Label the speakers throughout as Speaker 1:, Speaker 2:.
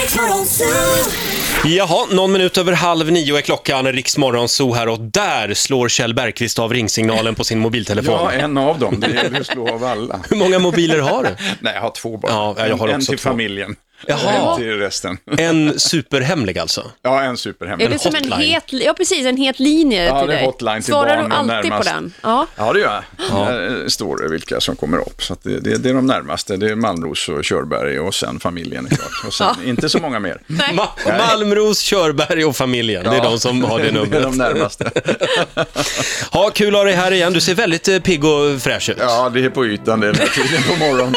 Speaker 1: Riksmorgonzoo!
Speaker 2: Jaha, någon minut över halv nio är klockan, Riksmorgon Zoo här och där slår Kjell Bergqvist av ringsignalen på sin mobiltelefon.
Speaker 3: Ja, en av dem. Det gäller att slå av alla.
Speaker 2: Hur många mobiler har du?
Speaker 3: Nej, jag har två bara.
Speaker 2: Ja, jag har
Speaker 3: en, en
Speaker 2: också
Speaker 3: till
Speaker 2: två.
Speaker 3: familjen.
Speaker 2: Jaha.
Speaker 3: En till resten.
Speaker 2: En superhemlig alltså.
Speaker 3: Ja, en superhem.
Speaker 4: Är det som en
Speaker 2: hotline.
Speaker 4: het, ja precis, en het linje
Speaker 3: Ja,
Speaker 4: till
Speaker 3: det är
Speaker 4: dig?
Speaker 3: hotline till
Speaker 4: Svarar
Speaker 3: barnen
Speaker 4: du alltid
Speaker 3: närmast.
Speaker 4: på den? Ja.
Speaker 3: Ja, det gör jag. Där står det vilka som kommer upp. Så att det, det, det är de närmaste. Det är Malmros och Körberg och sen familjen är klart. Och sen inte så många mer.
Speaker 4: Nej.
Speaker 2: Ma- Malmros, Körberg och familjen, det är de som har det
Speaker 3: Det är de
Speaker 2: numret.
Speaker 3: närmaste.
Speaker 2: Ha, kul att ha dig här igen, du ser väldigt eh, pigg och fräsch ut.
Speaker 3: Ja, det är på ytan det är den här tiden på morgonen.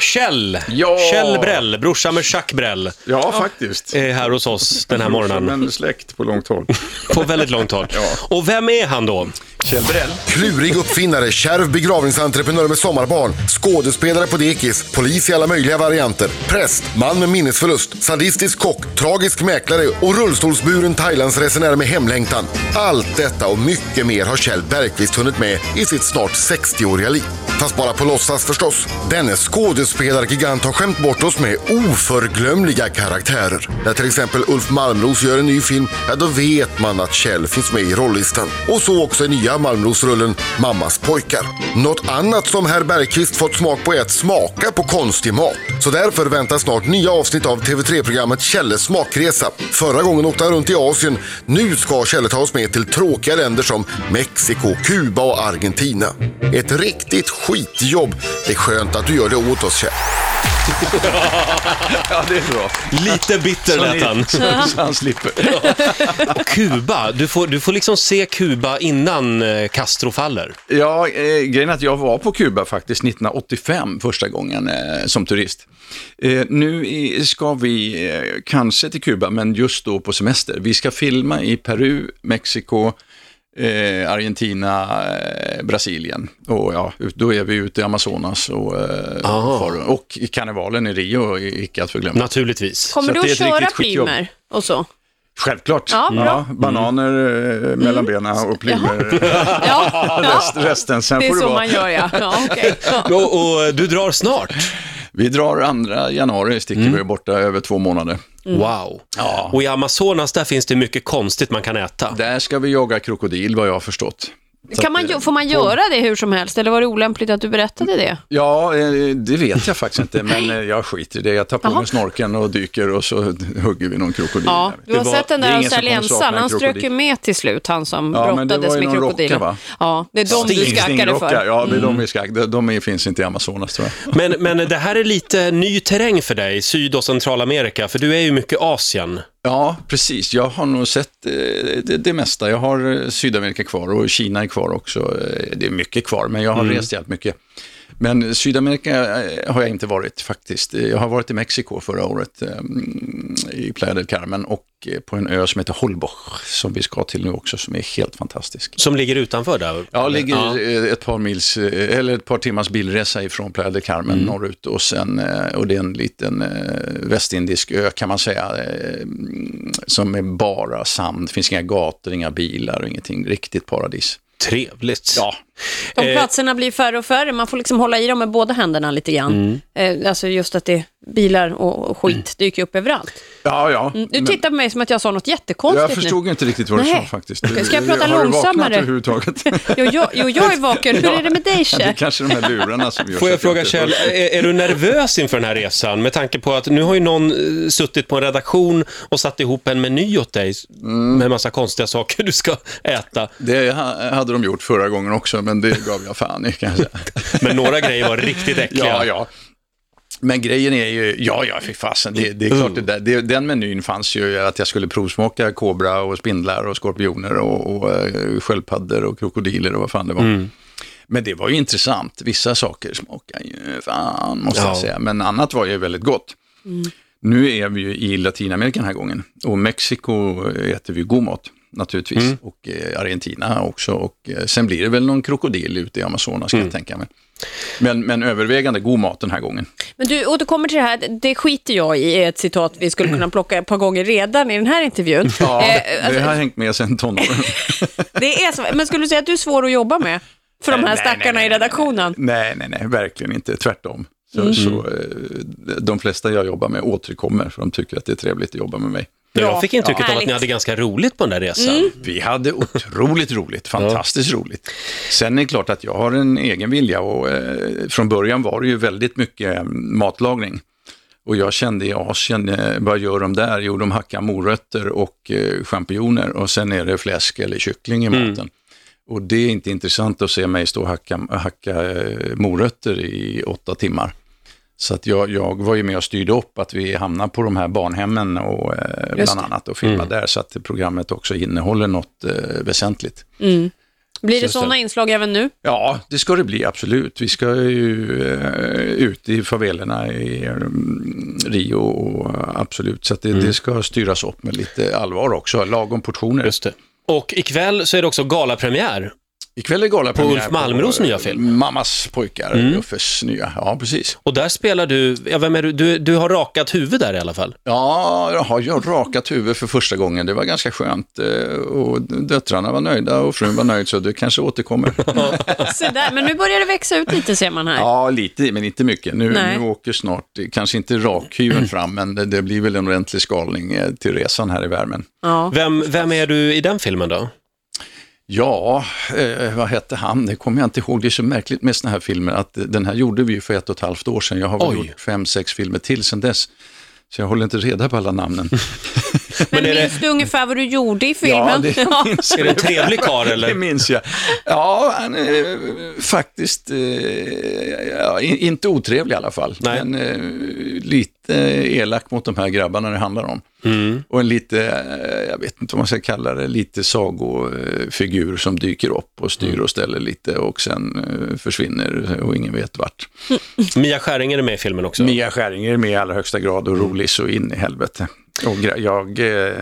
Speaker 2: Kjell,
Speaker 3: Ja.
Speaker 2: Kjell Brell, brorsan med Jacques Brell,
Speaker 3: Ja, faktiskt.
Speaker 2: är här hos oss den här morgonen.
Speaker 3: Som en släkt på långt håll.
Speaker 2: På väldigt långt håll. Och vem är han då?
Speaker 3: Kjell Brell.
Speaker 5: Klurig uppfinnare, kärv begravningsentreprenör med sommarbarn, skådespelare på dekis, polis i alla möjliga varianter, präst, man med minnesförlust, sadistisk kock, tragisk mäklare och rullstolsburen Thailandsresenär med hemlängtan. Allt detta och mycket mer har Kjell Bergqvist hunnit med i sitt snart 60-åriga liv. Fast bara på låtsas förstås. Denne skådespelargigant har skämt bort oss med oförglömliga karaktärer. När till exempel Ulf Malmros gör en ny film, ja då vet man att Kjell finns med i rollistan. Och så också i nya Malmros-rullen Mammas pojkar. Något annat som herr Bergqvist fått smak på är att smaka på konstig mat. Så därför väntas snart nya avsnitt av TV3-programmet Kjelles smakresa. Förra gången åkte han runt i Asien. Nu ska Kjelle ta oss med till tråkiga länder som Mexiko, Kuba och Argentina. Ett riktigt skitjobb. Det är skönt att du gör det åt oss Kjell.
Speaker 3: Ja, det är bra.
Speaker 2: Lite bitter lät
Speaker 3: Så,
Speaker 2: han.
Speaker 3: ni, så, så han slipper.
Speaker 2: Kuba, du får, du får liksom se Kuba innan eh, Castro faller.
Speaker 3: Ja, eh, grejen är att jag var på Kuba faktiskt 1985 första gången eh, som turist. Eh, nu i, ska vi eh, kanske till Kuba, men just då på semester. Vi ska filma i Peru, Mexiko, eh, Argentina, eh, Brasilien. Och ja, ut- då är vi ute i Amazonas och, eh,
Speaker 2: Ah.
Speaker 3: far- och i karnevalen i Rio, i- icke att förglömma.
Speaker 2: Naturligtvis.
Speaker 4: Kommer
Speaker 3: Så
Speaker 4: du
Speaker 3: att det är
Speaker 4: att
Speaker 3: ett
Speaker 4: köra
Speaker 3: riktigt skitjobb.
Speaker 4: primer och så?
Speaker 3: Självklart.
Speaker 4: Ja, bra. Mm.
Speaker 3: bananer eh, mellan benen och plymer.
Speaker 4: Ja, ja.
Speaker 3: Rest, resten, sen
Speaker 4: det är
Speaker 3: får det
Speaker 4: så
Speaker 3: vara.
Speaker 4: man gör ja. ja, okej. ja.
Speaker 2: Och, och eh, du drar snart.
Speaker 3: Vi drar andra januari, sticker vi borta över två månader.
Speaker 2: Wow. Och i Amazonas, där finns det mycket konstigt man kan äta.
Speaker 3: Där ska vi jaga krokodil vad jag har förstått.
Speaker 4: Kan man, gö- får man göra det hur som helst eller var det olämpligt att du berättade det?
Speaker 3: Ja, eh, det vet jag faktiskt inte, men eh, jag skiter i det. Jag tar på
Speaker 4: Jaha.
Speaker 3: mig snorkeln och dyker och så hugger vi någon krokodil.
Speaker 4: Ja,
Speaker 3: där.
Speaker 4: du har
Speaker 2: var-
Speaker 4: sett den
Speaker 3: det är
Speaker 4: där
Speaker 3: ingen som kommer
Speaker 4: australiensaren,
Speaker 3: sakna en
Speaker 4: han strök ju
Speaker 3: krokodil.
Speaker 4: med till slut, han som
Speaker 3: Ja, men det
Speaker 4: brottades
Speaker 3: var ju
Speaker 4: med
Speaker 3: någon rocka,
Speaker 4: krokodilen.
Speaker 3: va?
Speaker 4: Ja, det är de du skackade
Speaker 3: Stingrockar,
Speaker 4: för. Mm.
Speaker 3: Ja, det är de, vi skack, de, de är- finns inte i Amazonas tror jag.
Speaker 2: Men, men det här är lite ny terräng för dig, Syd och Centralamerika, för du är ju mycket Asien.
Speaker 3: Ja, precis. Jag har nog sett eh, det, det mesta. Jag har eh, Sydamerika kvar och Kina är kvar också. Eh, Det är mycket kvar, men jag har rest jävligt mycket. Men Sydamerika eh, har jag inte varit faktiskt. Eh, Jag har varit i Mexiko förra året, eh, mm, i Playa del Carmen och eh, på en ö som heter Holbox, som vi ska till nu också, som är helt fantastisk.
Speaker 2: Som ligger utanför där?
Speaker 3: Ja, ligger
Speaker 2: Ja.
Speaker 3: eh, ett par mils, eh, eller ett par timmars bilresa ifrån Playa del Carmen norrut och sen, eh, och det är en liten eh, västindisk ö kan man säga, eh, mm, som är bara sand, det finns inga gator, inga bilar, ingenting, riktigt paradis.
Speaker 2: Trevligt.
Speaker 3: Ja, Eh.
Speaker 4: De platserna blir färre och färre, man får liksom hålla i dem med båda händerna lite
Speaker 3: Mm.
Speaker 4: grann. Eh, alltså just att det bilar och och skit dyker upp överallt.
Speaker 3: ja, ja.
Speaker 4: Mm, Du
Speaker 3: men-
Speaker 4: tittar på mig som att jag sa något jättekonstigt
Speaker 3: jag förstod inte riktigt vad du
Speaker 4: Nej.
Speaker 3: sa faktiskt.
Speaker 4: Okej, ska jag prata
Speaker 3: Har du vaknat
Speaker 4: långsammare?
Speaker 3: överhuvudtaget?
Speaker 4: nu. Jo, jag, jo, jag är vaken. Hur är det med dig,
Speaker 3: Det är
Speaker 4: Kjell?
Speaker 3: kanske de här lurarna som gör
Speaker 2: Får
Speaker 3: så
Speaker 2: jag
Speaker 3: att
Speaker 2: fråga
Speaker 3: inte
Speaker 2: Kjell,
Speaker 3: hörs.
Speaker 2: är, är du nervös inför den här resan med tanke på att nu har ju någon eh, suttit på en redaktion och satt ihop en meny åt dig
Speaker 3: Mm.
Speaker 2: med massa konstiga saker du ska äta.
Speaker 3: Det ha- hade de gjort förra gången också, men det gav jag fan i kan jag säga.
Speaker 2: Men några grejer var riktigt äckliga.
Speaker 3: Ja, ja. Men grejen är ju, ja, ja, fy fasen, det, det är klart det där. Det, den menyn fanns ju att jag skulle provsmaka kobra och spindlar och skorpioner och, och eh, sköldpaddor och krokodiler och vad fan det var. Men det var ju intressant. Vissa saker smakar ju fan, måste
Speaker 2: Ja.
Speaker 3: jag säga. Men annat var ju väldigt gott.
Speaker 4: Mm.
Speaker 3: Nu är vi ju i Latinamerika den här gången och Mexiko äter vi god mat naturligtvis och eh, Argentina också och eh, sen blir det väl någon krokodil ute i Amazonas kan jag tänka mig. Men, men övervägande god mat den här gången.
Speaker 4: Men du återkommer till det här, det skiter jag i, är ett citat vi skulle kunna plocka ett par gånger redan i den här intervjun.
Speaker 3: Ja,
Speaker 4: Eh,
Speaker 3: det
Speaker 4: alltså,
Speaker 3: har hängt med sedan tonåren.
Speaker 4: det är så, men skulle du säga att du är svår att jobba med? För de här
Speaker 3: Nej, nej,
Speaker 4: stackarna
Speaker 3: nej,
Speaker 4: i redaktionen?
Speaker 3: Nej, nej, nej, verkligen inte. Tvärtom. Så,
Speaker 4: Mm.
Speaker 3: så, eh, de flesta jag jobbar med återkommer för de tycker att det är trevligt att jobba med mig.
Speaker 2: Men
Speaker 4: Ja.
Speaker 2: jag fick intrycket av att
Speaker 4: Härligt. Mm.
Speaker 2: ni hade ganska roligt på den där resan.
Speaker 3: Vi hade otroligt roligt, fantastiskt roligt. Sen är det klart att jag har en egen vilja och eh, från början var det ju väldigt mycket eh, matlagning. Och jag kände i Asien, eh, vad gör de där? Jo, de hackar morötter och eh, champinjoner och sen är det fläsk eller kyckling i maten. Och det är inte intressant att se mig stå och hacka, hacka eh, morötter i åtta timmar. Så att jag, jag var ju med och styrde upp att vi hamnar på de här barnhemmen och eh,
Speaker 4: Just
Speaker 3: bland annat och filmar där så att programmet också innehåller något eh, väsentligt.
Speaker 4: Blir det
Speaker 2: Just det.
Speaker 4: sådana inslag även nu?
Speaker 3: Ja, det ska det bli absolut. Vi ska ju eh, ut i favelerna i mm, Rio och absolut. Så att det, det ska styras upp med lite allvar också, lagom portioner.
Speaker 2: Just det. Och ikväll så är det också galapremiär.
Speaker 3: Ikväll är galapremiär
Speaker 2: På Ulf Malmros
Speaker 3: eh,
Speaker 2: nya film.
Speaker 3: Mammas pojkar, Uffes nya. Ja, precis.
Speaker 2: Och där spelar du, ja vem är du? Du, du har rakat huvud där i alla fall.
Speaker 3: Ja, jag har ju rakat huvud för första gången. Det var ganska skönt. eh, Och döttrarna var nöjda och frun var nöjd, så det kanske återkommer.
Speaker 4: Så där. Men nu börjar det växa ut lite ser man här.
Speaker 3: ja, lite, men inte mycket. Nu,
Speaker 4: Nej.
Speaker 3: nu åker snart, eh, kanske inte rakhyveln fram, men det, det blir väl en ordentlig skalning eh, till resan här i värmen.
Speaker 4: Ja.
Speaker 2: Vem, vem är du i den filmen då?
Speaker 3: Ja, eh, vad hette han? Det kommer jag inte ihåg. Det är så märkligt med såna här filmer att eh, den här gjorde vi ju för ett och ett halvt år sedan. Jag har väl
Speaker 2: Oj.
Speaker 3: gjort fem, sex filmer till sedan dess. Så jag håller inte reda på alla namnen.
Speaker 4: Men
Speaker 2: är det-
Speaker 4: minns du ungefär vad du gjorde i filmen?
Speaker 3: Ja, det
Speaker 4: Ja.
Speaker 3: minns
Speaker 2: Är det en trevlig karl
Speaker 3: Det
Speaker 2: eller?
Speaker 3: minns jag. Ja, han är faktiskt eh, ja, in- inte otrevlig i alla fall.
Speaker 2: Nej.
Speaker 3: Men eh, lite elak mot de här grabbarna det handlar om.
Speaker 2: Mm.
Speaker 3: Och en lite, eh, jag vet inte vad man ska kalla det, lite sagofigur som dyker upp och
Speaker 2: Mm.
Speaker 3: styr och ställer lite och sen eh, försvinner och ingen vet vart.
Speaker 2: Mia Skäringer är med i filmen också.
Speaker 3: Mia Skäringer är med i allra högsta grad och rolig så in i helvete. Och gra- jag, eh,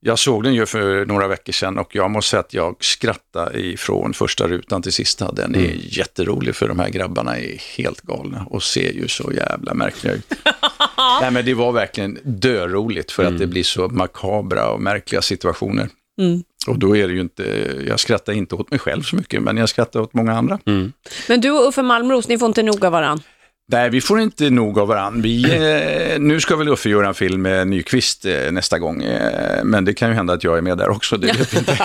Speaker 3: jag såg den ju för några veckor sedan och jag måste säga att jag skrattade ifrån första rutan till sista. Den är jätterolig för de här grabbarna är helt galna och ser ju så jävla märkliga ut. Nej men det var verkligen döroligt för att det blir så makabra och märkliga situationer. Och då är det ju inte, jag skrattar inte åt mig själv så mycket, men jag skrattar åt många andra.
Speaker 4: Men du och Uffe Malmros, ni får inte nog av varann.
Speaker 3: Nej, vi får inte nog av varandra. Vi, eh, nu ska väl Uffe göra en film med Nyqvist eh, nästa gång, eh, men det kan ju hända att jag är med där också. Det vet vi inte.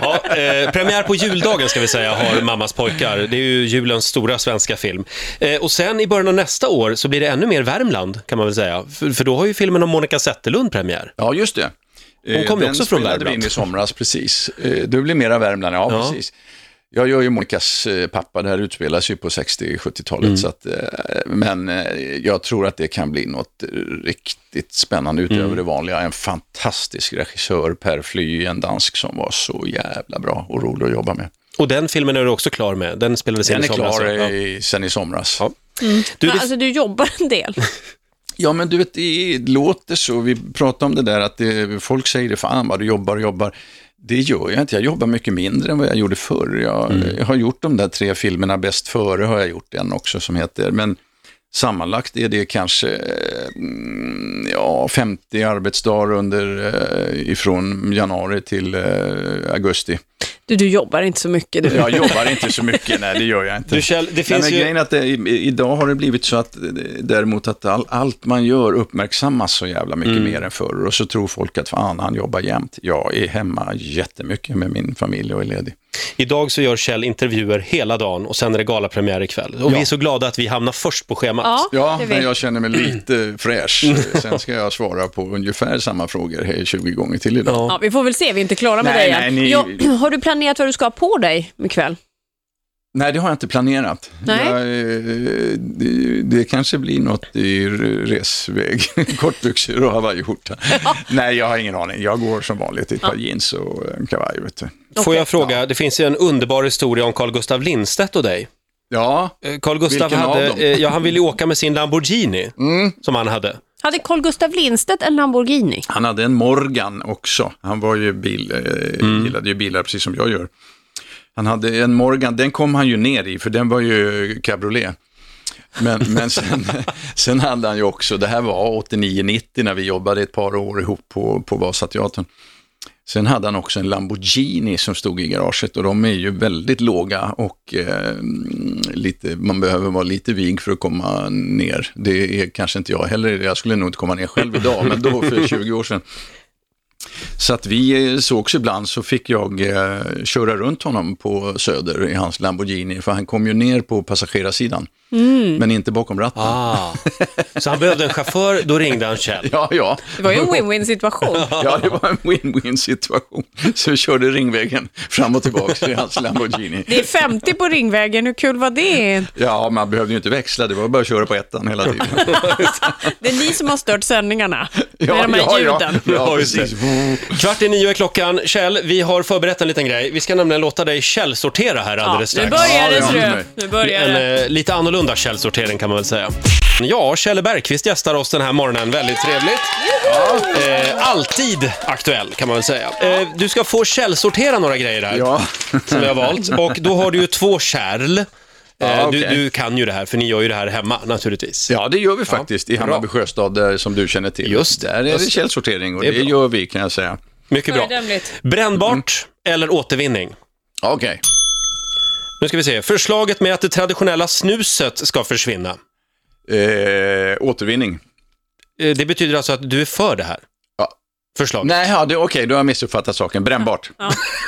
Speaker 2: Ja, eh, premiär på juldagen ska vi säga har Mammas pojkar. Det är ju julens stora svenska film. Eh, och sen i början av nästa år så blir det ännu mer Värmland kan man väl säga. För, för då har ju filmen om Monica Zetterlund premiär.
Speaker 3: Ja, just det. Eh,
Speaker 2: Hon kommer
Speaker 3: den
Speaker 2: också från
Speaker 3: spelade
Speaker 2: Värmland.
Speaker 3: vi in i somras, precis. Eh, Du blir mera Värmland, ja,
Speaker 2: Ja.
Speaker 3: precis. Jag gör ju Monikas eh, pappa, det här utspelas ju på 60-70-talet,
Speaker 2: Mm.
Speaker 3: så att, eh, men eh, jag tror att det kan bli något eh, riktigt spännande utöver
Speaker 2: Mm.
Speaker 3: det vanliga. En fantastisk regissör, Per Fly, en dansk som var så jävla bra och rolig att jobba med.
Speaker 2: Och den filmen är du också klar med. Den spelades in
Speaker 3: Den
Speaker 2: i
Speaker 3: är
Speaker 2: somras.
Speaker 3: klar eh,
Speaker 2: ja.
Speaker 3: i, sen i somras. Ja.
Speaker 2: Du,
Speaker 4: Ja,
Speaker 2: det-
Speaker 4: Alltså, du jobbar en del.
Speaker 3: men du vet, det låter så. Vi pratar om det där att det, folk säger det, fan vad du jobbar och jobbar. Det gör jag inte. Jag jobbar mycket mindre än vad jag gjorde förr. Jag,
Speaker 2: Mm.
Speaker 3: jag har gjort de där tre filmerna, Bäst före har jag gjort en också som heter, men sammanlagt är det kanske eh, mm, ja, 50 arbetsdagar under, eh, ifrån januari till eh, augusti.
Speaker 4: Du, du jobbar inte så mycket du.
Speaker 3: Jag jobbar inte så mycket, nej det gör jag inte.
Speaker 2: du Kjell, det
Speaker 3: Nej,
Speaker 2: finns
Speaker 3: men
Speaker 2: ju...
Speaker 3: grejen är att det, i- i- idag har det blivit så att eh, däremot att all, allt man gör uppmärksammas så jävla mycket
Speaker 2: Mm.
Speaker 3: mer än förr. Och så tror folk att fan, han jobbar jämt. Jag är hemma jättemycket med min familj och är ledig.
Speaker 2: Idag så gör Kjell intervjuer hela dagen och sen är det galapremiär ikväll. Och vi är så glada att vi hamnar först på schemat.
Speaker 4: Ja,
Speaker 3: Ja,
Speaker 4: det vet
Speaker 3: men jag känner mig lite fräsch. Sen ska jag svara på ungefär samma frågor hej, 20 gånger till idag.
Speaker 2: Ja.
Speaker 4: Ja, vi får väl se, vi är inte klara med
Speaker 3: Nej,
Speaker 4: dig än.
Speaker 3: nej, ni-
Speaker 4: Ja, har du planerat vad du ska ha på dig ikväll?
Speaker 3: Nej, det har jag inte planerat.
Speaker 4: Nej.
Speaker 3: Jag, eh, det, det kanske blir något i r- resväg. Kortbyxor och hawaiiskjorta. Nej, jag har ingen aning. Jag går som vanligt i ett par jeans och en kavaj. Vet du.
Speaker 2: Får jag fråga, det finns ju en underbar historia om Carl Gustav Lindstedt och dig.
Speaker 3: Ja,
Speaker 2: Eh, Carl Gustav
Speaker 3: Vilken av
Speaker 2: hade,
Speaker 3: dem? Mm.
Speaker 2: eh, ja, han ville ju åka med sin Lamborghini som han hade.
Speaker 4: Hade Carl Gustaf Lindstedt en Lamborghini?
Speaker 3: Han hade en Morgan också. Han var ju bil, eh, gillade ju bilar precis som jag gör. Han hade en Morgan, den kom han ju ner i för den var ju cabriolet. Men, men sen, sen hade han ju också, det här var 89-90 när vi jobbade ett par år ihop på, på Vasateatern. Sen hade han också en Lamborghini som stod i garaget och de är ju väldigt låga och eh, lite, man behöver vara lite vig för att komma ner. Det är kanske inte jag heller, jag skulle nog inte komma ner själv idag, men då för 20 år sedan. Så att vi eh, sågs ibland så fick jag eh, köra runt honom på Söder i hans Lamborghini, för han kom ju ner på passagerarsidan,
Speaker 4: Mm.
Speaker 3: men inte bakom ratten.
Speaker 2: Ah. Så han behövde en chaufför, då ringde han Kjell.
Speaker 3: Ja, ja.
Speaker 4: Det var ju en win-win situation.
Speaker 3: Ja, det var en win-win situation. Så vi körde ringvägen fram och tillbaka i hans Lamborghini.
Speaker 4: Det är 50 på Ringvägen, hur kul var det?
Speaker 3: Ja, man behövde ju inte växla, det var bara att köra på ettan hela tiden.
Speaker 4: Det är ni som har stört sändningarna
Speaker 3: Ja,
Speaker 4: med de här
Speaker 3: ja, ja,
Speaker 4: ljuden.
Speaker 3: ja,
Speaker 2: just det.
Speaker 3: precis.
Speaker 2: Kvart i nio är klockan. Kjell, vi har förberett en liten grej. Vi ska nämligen låta dig källsortera här alldeles
Speaker 4: nu
Speaker 2: strax.
Speaker 4: börjar det,
Speaker 3: Ja, Mm.
Speaker 4: tror
Speaker 3: ja.
Speaker 4: jag. Nu börjar
Speaker 2: En
Speaker 4: det.
Speaker 2: eh, lite annorlunda källsortering kan man väl säga. Ja, Kjell Bergqvist gästar oss den här morgonen. Väldigt trevligt. Eh, alltid aktuell kan man väl säga. Eh, du ska få källsortera några grejer här
Speaker 3: Ja.
Speaker 2: som vi har valt. Och då har du ju två kärl. Eh,
Speaker 3: Ja,
Speaker 2: du,
Speaker 3: okej.
Speaker 2: du kan ju det här, för ni gör ju det här hemma naturligtvis.
Speaker 3: Ja, det gör vi faktiskt i
Speaker 2: bra.
Speaker 3: Hammarby sjöstad, där, som du känner till.
Speaker 2: Just det.
Speaker 3: Där är det källsortering och det,
Speaker 2: är bra.
Speaker 3: gör vi, kan jag säga.
Speaker 2: Mycket bra.
Speaker 4: Föredömligt.
Speaker 2: Brännbart
Speaker 3: Mm.
Speaker 2: eller återvinning?
Speaker 3: Okej.
Speaker 2: Nu ska vi se. Förslaget med att det traditionella snuset ska försvinna.
Speaker 3: Eh, återvinning.
Speaker 2: Eh, Det betyder alltså att du är för det här?
Speaker 3: Ja.
Speaker 2: Förslaget.
Speaker 3: Nej, ja, det- okej, då har jag missuppfattat saken. Brännbart.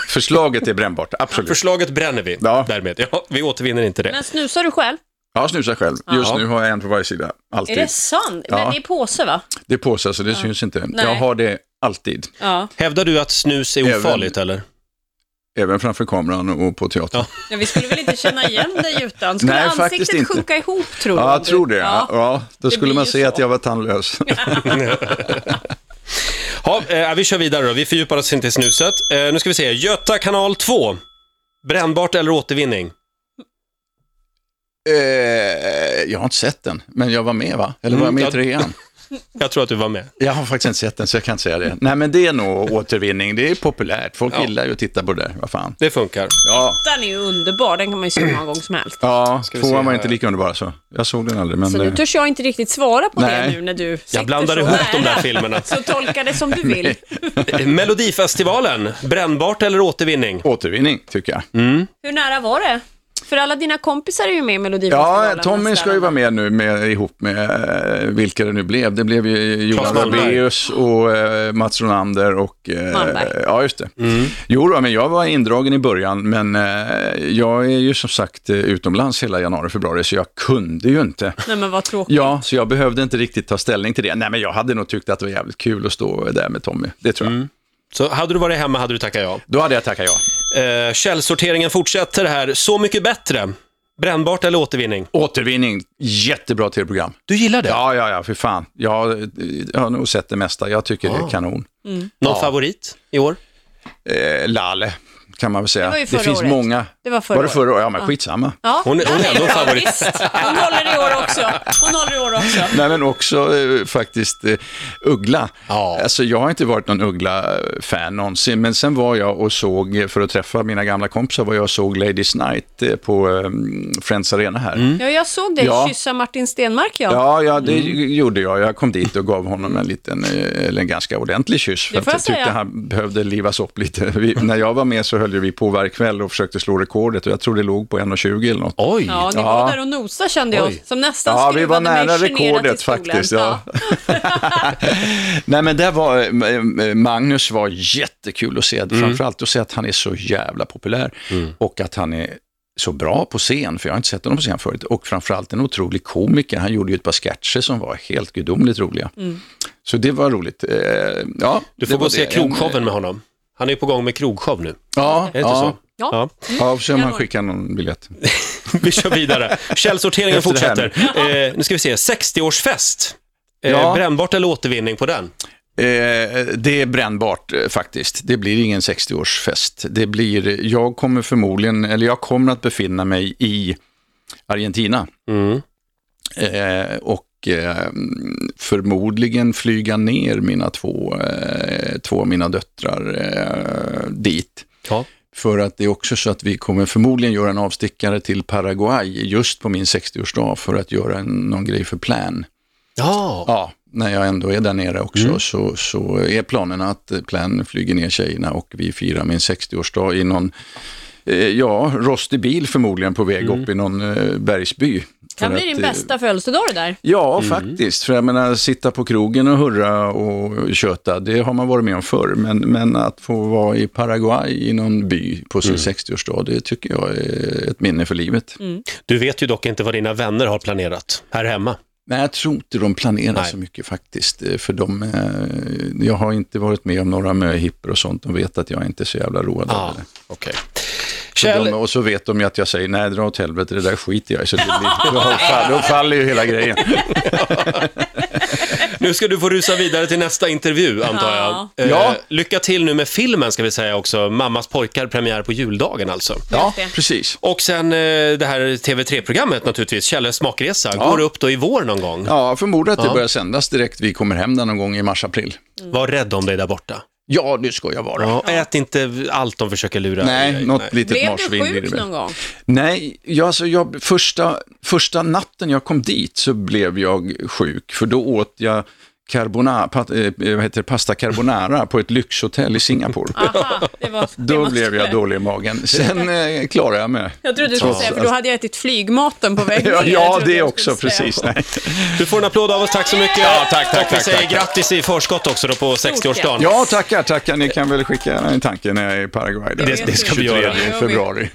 Speaker 3: Förslaget är brännbart, absolut.
Speaker 2: Förslaget bränner vi
Speaker 3: Ja.
Speaker 2: därmed. Ja, vi återvinner inte det.
Speaker 4: Men snusar du själv?
Speaker 3: Jag snusar själv. Just
Speaker 2: Ja.
Speaker 3: nu har jag en på varje sida,
Speaker 4: Är
Speaker 3: alltid.
Speaker 4: det sant? Men
Speaker 3: Ja.
Speaker 4: det är påse, va?
Speaker 3: Det är påsar, så det syns inte.
Speaker 4: Nej.
Speaker 3: Jag har det alltid.
Speaker 4: Ja.
Speaker 2: Hävdar du att snus är
Speaker 3: Även-
Speaker 2: ofarligt eller?
Speaker 3: Även framför kameran och på teatern.
Speaker 2: Ja.
Speaker 4: Ja, vi skulle väl inte känna igen dig utan? Skulle
Speaker 3: Nej, faktiskt
Speaker 4: ansiktet
Speaker 3: inte.
Speaker 4: sjunka ihop, tror du?
Speaker 3: Ja, jag tror det. Ja. Ja, då skulle
Speaker 4: blir
Speaker 3: man
Speaker 4: ju
Speaker 3: säga
Speaker 4: så.
Speaker 3: att jag var tandlös.
Speaker 2: Ja, eh, vi kör vidare då. Vi fördjupar oss inte i snuset. Eh, nu ska vi se. Göta kanal 2. Brännbart eller återvinning?
Speaker 3: eh, jag har inte sett den, men jag var med va? Eller var jag
Speaker 2: Mm,
Speaker 3: med
Speaker 2: ja.
Speaker 3: i trean?
Speaker 2: Jag tror att du var med.
Speaker 3: Jag har faktiskt inte sett den, så jag kan inte säga det. Nej, men det är nog återvinning. Det är populärt. Folk
Speaker 2: Ja.
Speaker 3: gillar ju att titta på det där. Vad fan.
Speaker 2: Det funkar.
Speaker 3: Ja,
Speaker 4: Den är ju underbar, den kan man ju se hur många gånger som helst.
Speaker 3: ja
Speaker 2: vi se
Speaker 3: tvåan var
Speaker 2: här.
Speaker 3: inte lika underbar så. Jag såg den aldrig, men...
Speaker 4: Så nu
Speaker 3: eh,
Speaker 4: törs jag inte riktigt svara på det
Speaker 3: Nej.
Speaker 4: nu när du sitter
Speaker 2: Jag blandar
Speaker 4: så
Speaker 2: ihop
Speaker 4: nära.
Speaker 2: de där filmerna.
Speaker 4: Så tolka det som du vill.
Speaker 2: Eh, Melodifestivalen. Brännbart eller återvinning?
Speaker 3: Återvinning, tycker jag.
Speaker 4: Hur nära var det? För alla dina kompisar är ju med i Melodifestivalen.
Speaker 3: Ja, Tommy
Speaker 4: nästa
Speaker 3: ska ju
Speaker 4: år.
Speaker 3: vara med nu med, ihop med eh, vilka det nu blev. Det blev ju Johan
Speaker 2: Malmberg.
Speaker 3: Rabaeus och eh, Mats Ronander och... eh,
Speaker 4: Malmberg.
Speaker 3: Ja, just det.
Speaker 2: Mm.
Speaker 3: Jo då, men jag var indragen i början, men eh, jag är ju som sagt eh, utomlands hela januari, februari, så jag kunde ju inte.
Speaker 4: Nej, men vad tråkigt.
Speaker 3: Ja, så jag behövde inte riktigt ta ställning till det. Nej, men jag hade nog tyckt att det var jävligt kul att stå där med Tommy. Det tror jag.
Speaker 2: Mm. Så hade du varit hemma hade du tackat ja.
Speaker 3: Då hade jag tackat ja.
Speaker 2: Eh, källsorteringen fortsätter här. Så mycket bättre. Brännbart eller återvinning?
Speaker 3: Återvinning, jättebra tv-program.
Speaker 2: Du gillar det?
Speaker 3: Ja, ja, ja, för fan. Jag, eh, jag har nog sett det mesta. Jag tycker
Speaker 2: Ah.
Speaker 3: det är kanon.
Speaker 2: Någon favorit i år?
Speaker 3: eh, Lale, kan man väl säga. Det,
Speaker 4: var ju förra
Speaker 3: finns
Speaker 4: året.
Speaker 3: många.
Speaker 4: Det var förra
Speaker 3: var det
Speaker 4: året.
Speaker 3: förra året? Ja, men skitsamma.
Speaker 4: Ja,
Speaker 2: Hon är- hon är
Speaker 4: ja,
Speaker 2: ändå
Speaker 4: ja,
Speaker 2: favorit.
Speaker 4: visst. Hon håller i år också. Hon håller i år också.
Speaker 3: Nej, men också eh, faktiskt eh, Uggla.
Speaker 2: Ja.
Speaker 3: Alltså, jag har inte varit någon Uggla-fan någonsin, men sen var jag och såg, eh, för att träffa mina gamla kompisar, var jag och såg Ladies Night eh, på eh, Friends Arena här.
Speaker 4: Ja, jag såg dig
Speaker 3: Ja.
Speaker 4: kyssa Martin Stenmark, ja.
Speaker 3: Ja, ja, det gjorde jag. Jag kom dit och gav honom en liten, eh, eller en ganska ordentlig kyss. För
Speaker 4: Det
Speaker 3: att
Speaker 4: får
Speaker 3: jag
Speaker 4: jag
Speaker 3: tyckte
Speaker 4: säga.
Speaker 3: han behövde livas upp lite. Vi, när jag var med så höll ju vi på varje kväll och försökte slå rekordet och jag tror det låg på 1,20 eller något.
Speaker 2: Oj!
Speaker 4: Ja, ni
Speaker 3: Ja.
Speaker 4: var där och nosade kände jag,
Speaker 2: Oj.
Speaker 4: som nästan
Speaker 3: Ja, vi var
Speaker 4: skruvade mig
Speaker 3: nära
Speaker 4: generat i
Speaker 3: rekordet
Speaker 4: stolen.
Speaker 3: faktiskt. Ja. Nej, men det var, eh, Magnus var jättekul att se,
Speaker 2: Mm.
Speaker 3: framförallt att se att han är så jävla populär och att han är så bra på scen, för jag har inte sett honom på scen förut, och framförallt en otrolig komiker. Han gjorde ju ett par sketcher som var helt gudomligt roliga. Så det var roligt. Eh, ja,
Speaker 2: Du
Speaker 3: det
Speaker 2: får gå
Speaker 3: var
Speaker 2: och se
Speaker 3: det. eh,
Speaker 2: krogshowen med honom. Han är ju på gång med krogshow nu.
Speaker 3: Ja,
Speaker 2: Är det inte
Speaker 3: ja,
Speaker 2: så?
Speaker 4: Ja.
Speaker 3: ja, får se om han
Speaker 4: Januari.
Speaker 3: skickar någon biljett.
Speaker 2: Vi kör vidare. Källsorteringen
Speaker 3: Efter det här
Speaker 2: fortsätter. Eh, nu ska vi se. 60-årsfest. Eh,
Speaker 3: Ja.
Speaker 2: Brännbart eller återvinning på den?
Speaker 3: Eh, det är brännbart eh, faktiskt. Det blir ingen 60-årsfest. Det blir, jag kommer förmodligen, eller jag kommer att befinna mig i Argentina. Eh, och eh, förmodligen flyga ner mina två, eh, två av mina döttrar eh, dit.
Speaker 2: Ja.
Speaker 3: För att det är också så att vi kommer förmodligen göra en avstickare till Paraguay just på min 60-årsdag för att göra en, någon grej för plan.
Speaker 2: Ja,
Speaker 3: Ja, när jag ändå är där nere också så, så är planerna att Plan flyger ner tjejerna och vi firar min 60-årsdag i någon, eh, ja, rostig bil förmodligen på väg upp i någon eh, bergsby.
Speaker 4: Kan
Speaker 3: För
Speaker 4: bli
Speaker 3: att,
Speaker 4: din
Speaker 3: eh,
Speaker 4: bästa födelsedag det där.
Speaker 3: Ja, faktiskt. För jag menar, sitta på krogen och hurra och köta, det har man varit med om förr. Men, men att få vara i Paraguay i någon by på sin 60-årsdag, det tycker jag är ett minne för livet.
Speaker 2: du vet ju dock inte vad dina vänner har planerat här hemma.
Speaker 3: Nej, jag tror inte de planerar
Speaker 2: Nej.
Speaker 3: så mycket faktiskt. eh, För de, eh, jag har inte varit med om några möhippor och sånt. De vet att jag inte är så jävla road av det.
Speaker 2: okej.
Speaker 3: Så de,
Speaker 2: Kjell,
Speaker 3: och så vet de ju att jag säger, nej dra åt helvete, det där skiter jag i. Så det blir, då, fall, då faller ju hela grejen.
Speaker 2: nu ska du få rusa vidare till nästa intervju, antar jag. Eh,
Speaker 3: Ja.
Speaker 2: Lycka till nu med filmen, ska vi säga också. Mammas pojkar, premiär på juldagen alltså.
Speaker 3: Ja,
Speaker 4: det.
Speaker 3: precis.
Speaker 2: Och sen eh, det här TV3-programmet naturligtvis, Kjelles smakresa, går upp då i vår någon gång.
Speaker 3: Ja, jag förmodar att det
Speaker 2: Ja.
Speaker 3: börjar sändas direkt vi kommer hem där någon gång i mars-april.
Speaker 2: Var rädd om dig där borta.
Speaker 3: Ja, det ska jag vara.
Speaker 2: Ja, Ät inte allt de försöker lura i
Speaker 3: Nej,
Speaker 2: dig.
Speaker 3: något litet
Speaker 4: Blev du
Speaker 3: marsvin blir det
Speaker 4: sjuk
Speaker 3: väl.
Speaker 4: någon gång?
Speaker 3: Nej, jag, alltså jag, första, första natten jag kom dit så blev jag sjuk, för då åt jag carbonara, pat, eh, vad heter det, pasta carbonara på ett lyxhotell i Singapore.
Speaker 4: Aha, det var, det
Speaker 3: Då
Speaker 4: var-
Speaker 3: blev jag dålig i magen. Sen eh, klarade jag mig.
Speaker 4: Jag trodde du skulle säga, för då hade jag ätit flygmaten på väg
Speaker 3: Ja,
Speaker 4: ner. Jag
Speaker 3: ja
Speaker 4: trodde
Speaker 3: det
Speaker 4: jag
Speaker 3: också,
Speaker 4: skulle säga.
Speaker 3: precis. Nej.
Speaker 2: Du får en applåd av oss, tack så mycket.
Speaker 3: Ja, tack, tack,
Speaker 2: och vi
Speaker 3: tack,
Speaker 2: säger
Speaker 3: tack, tack.
Speaker 2: grattis i förskott också då på 60-årsdagen.
Speaker 3: Ja, tackar, tackar. Ni kan väl skicka en tanke när jag är i Paraguay. då.
Speaker 4: Det- det ska vi
Speaker 3: 23
Speaker 4: göra.
Speaker 3: februari.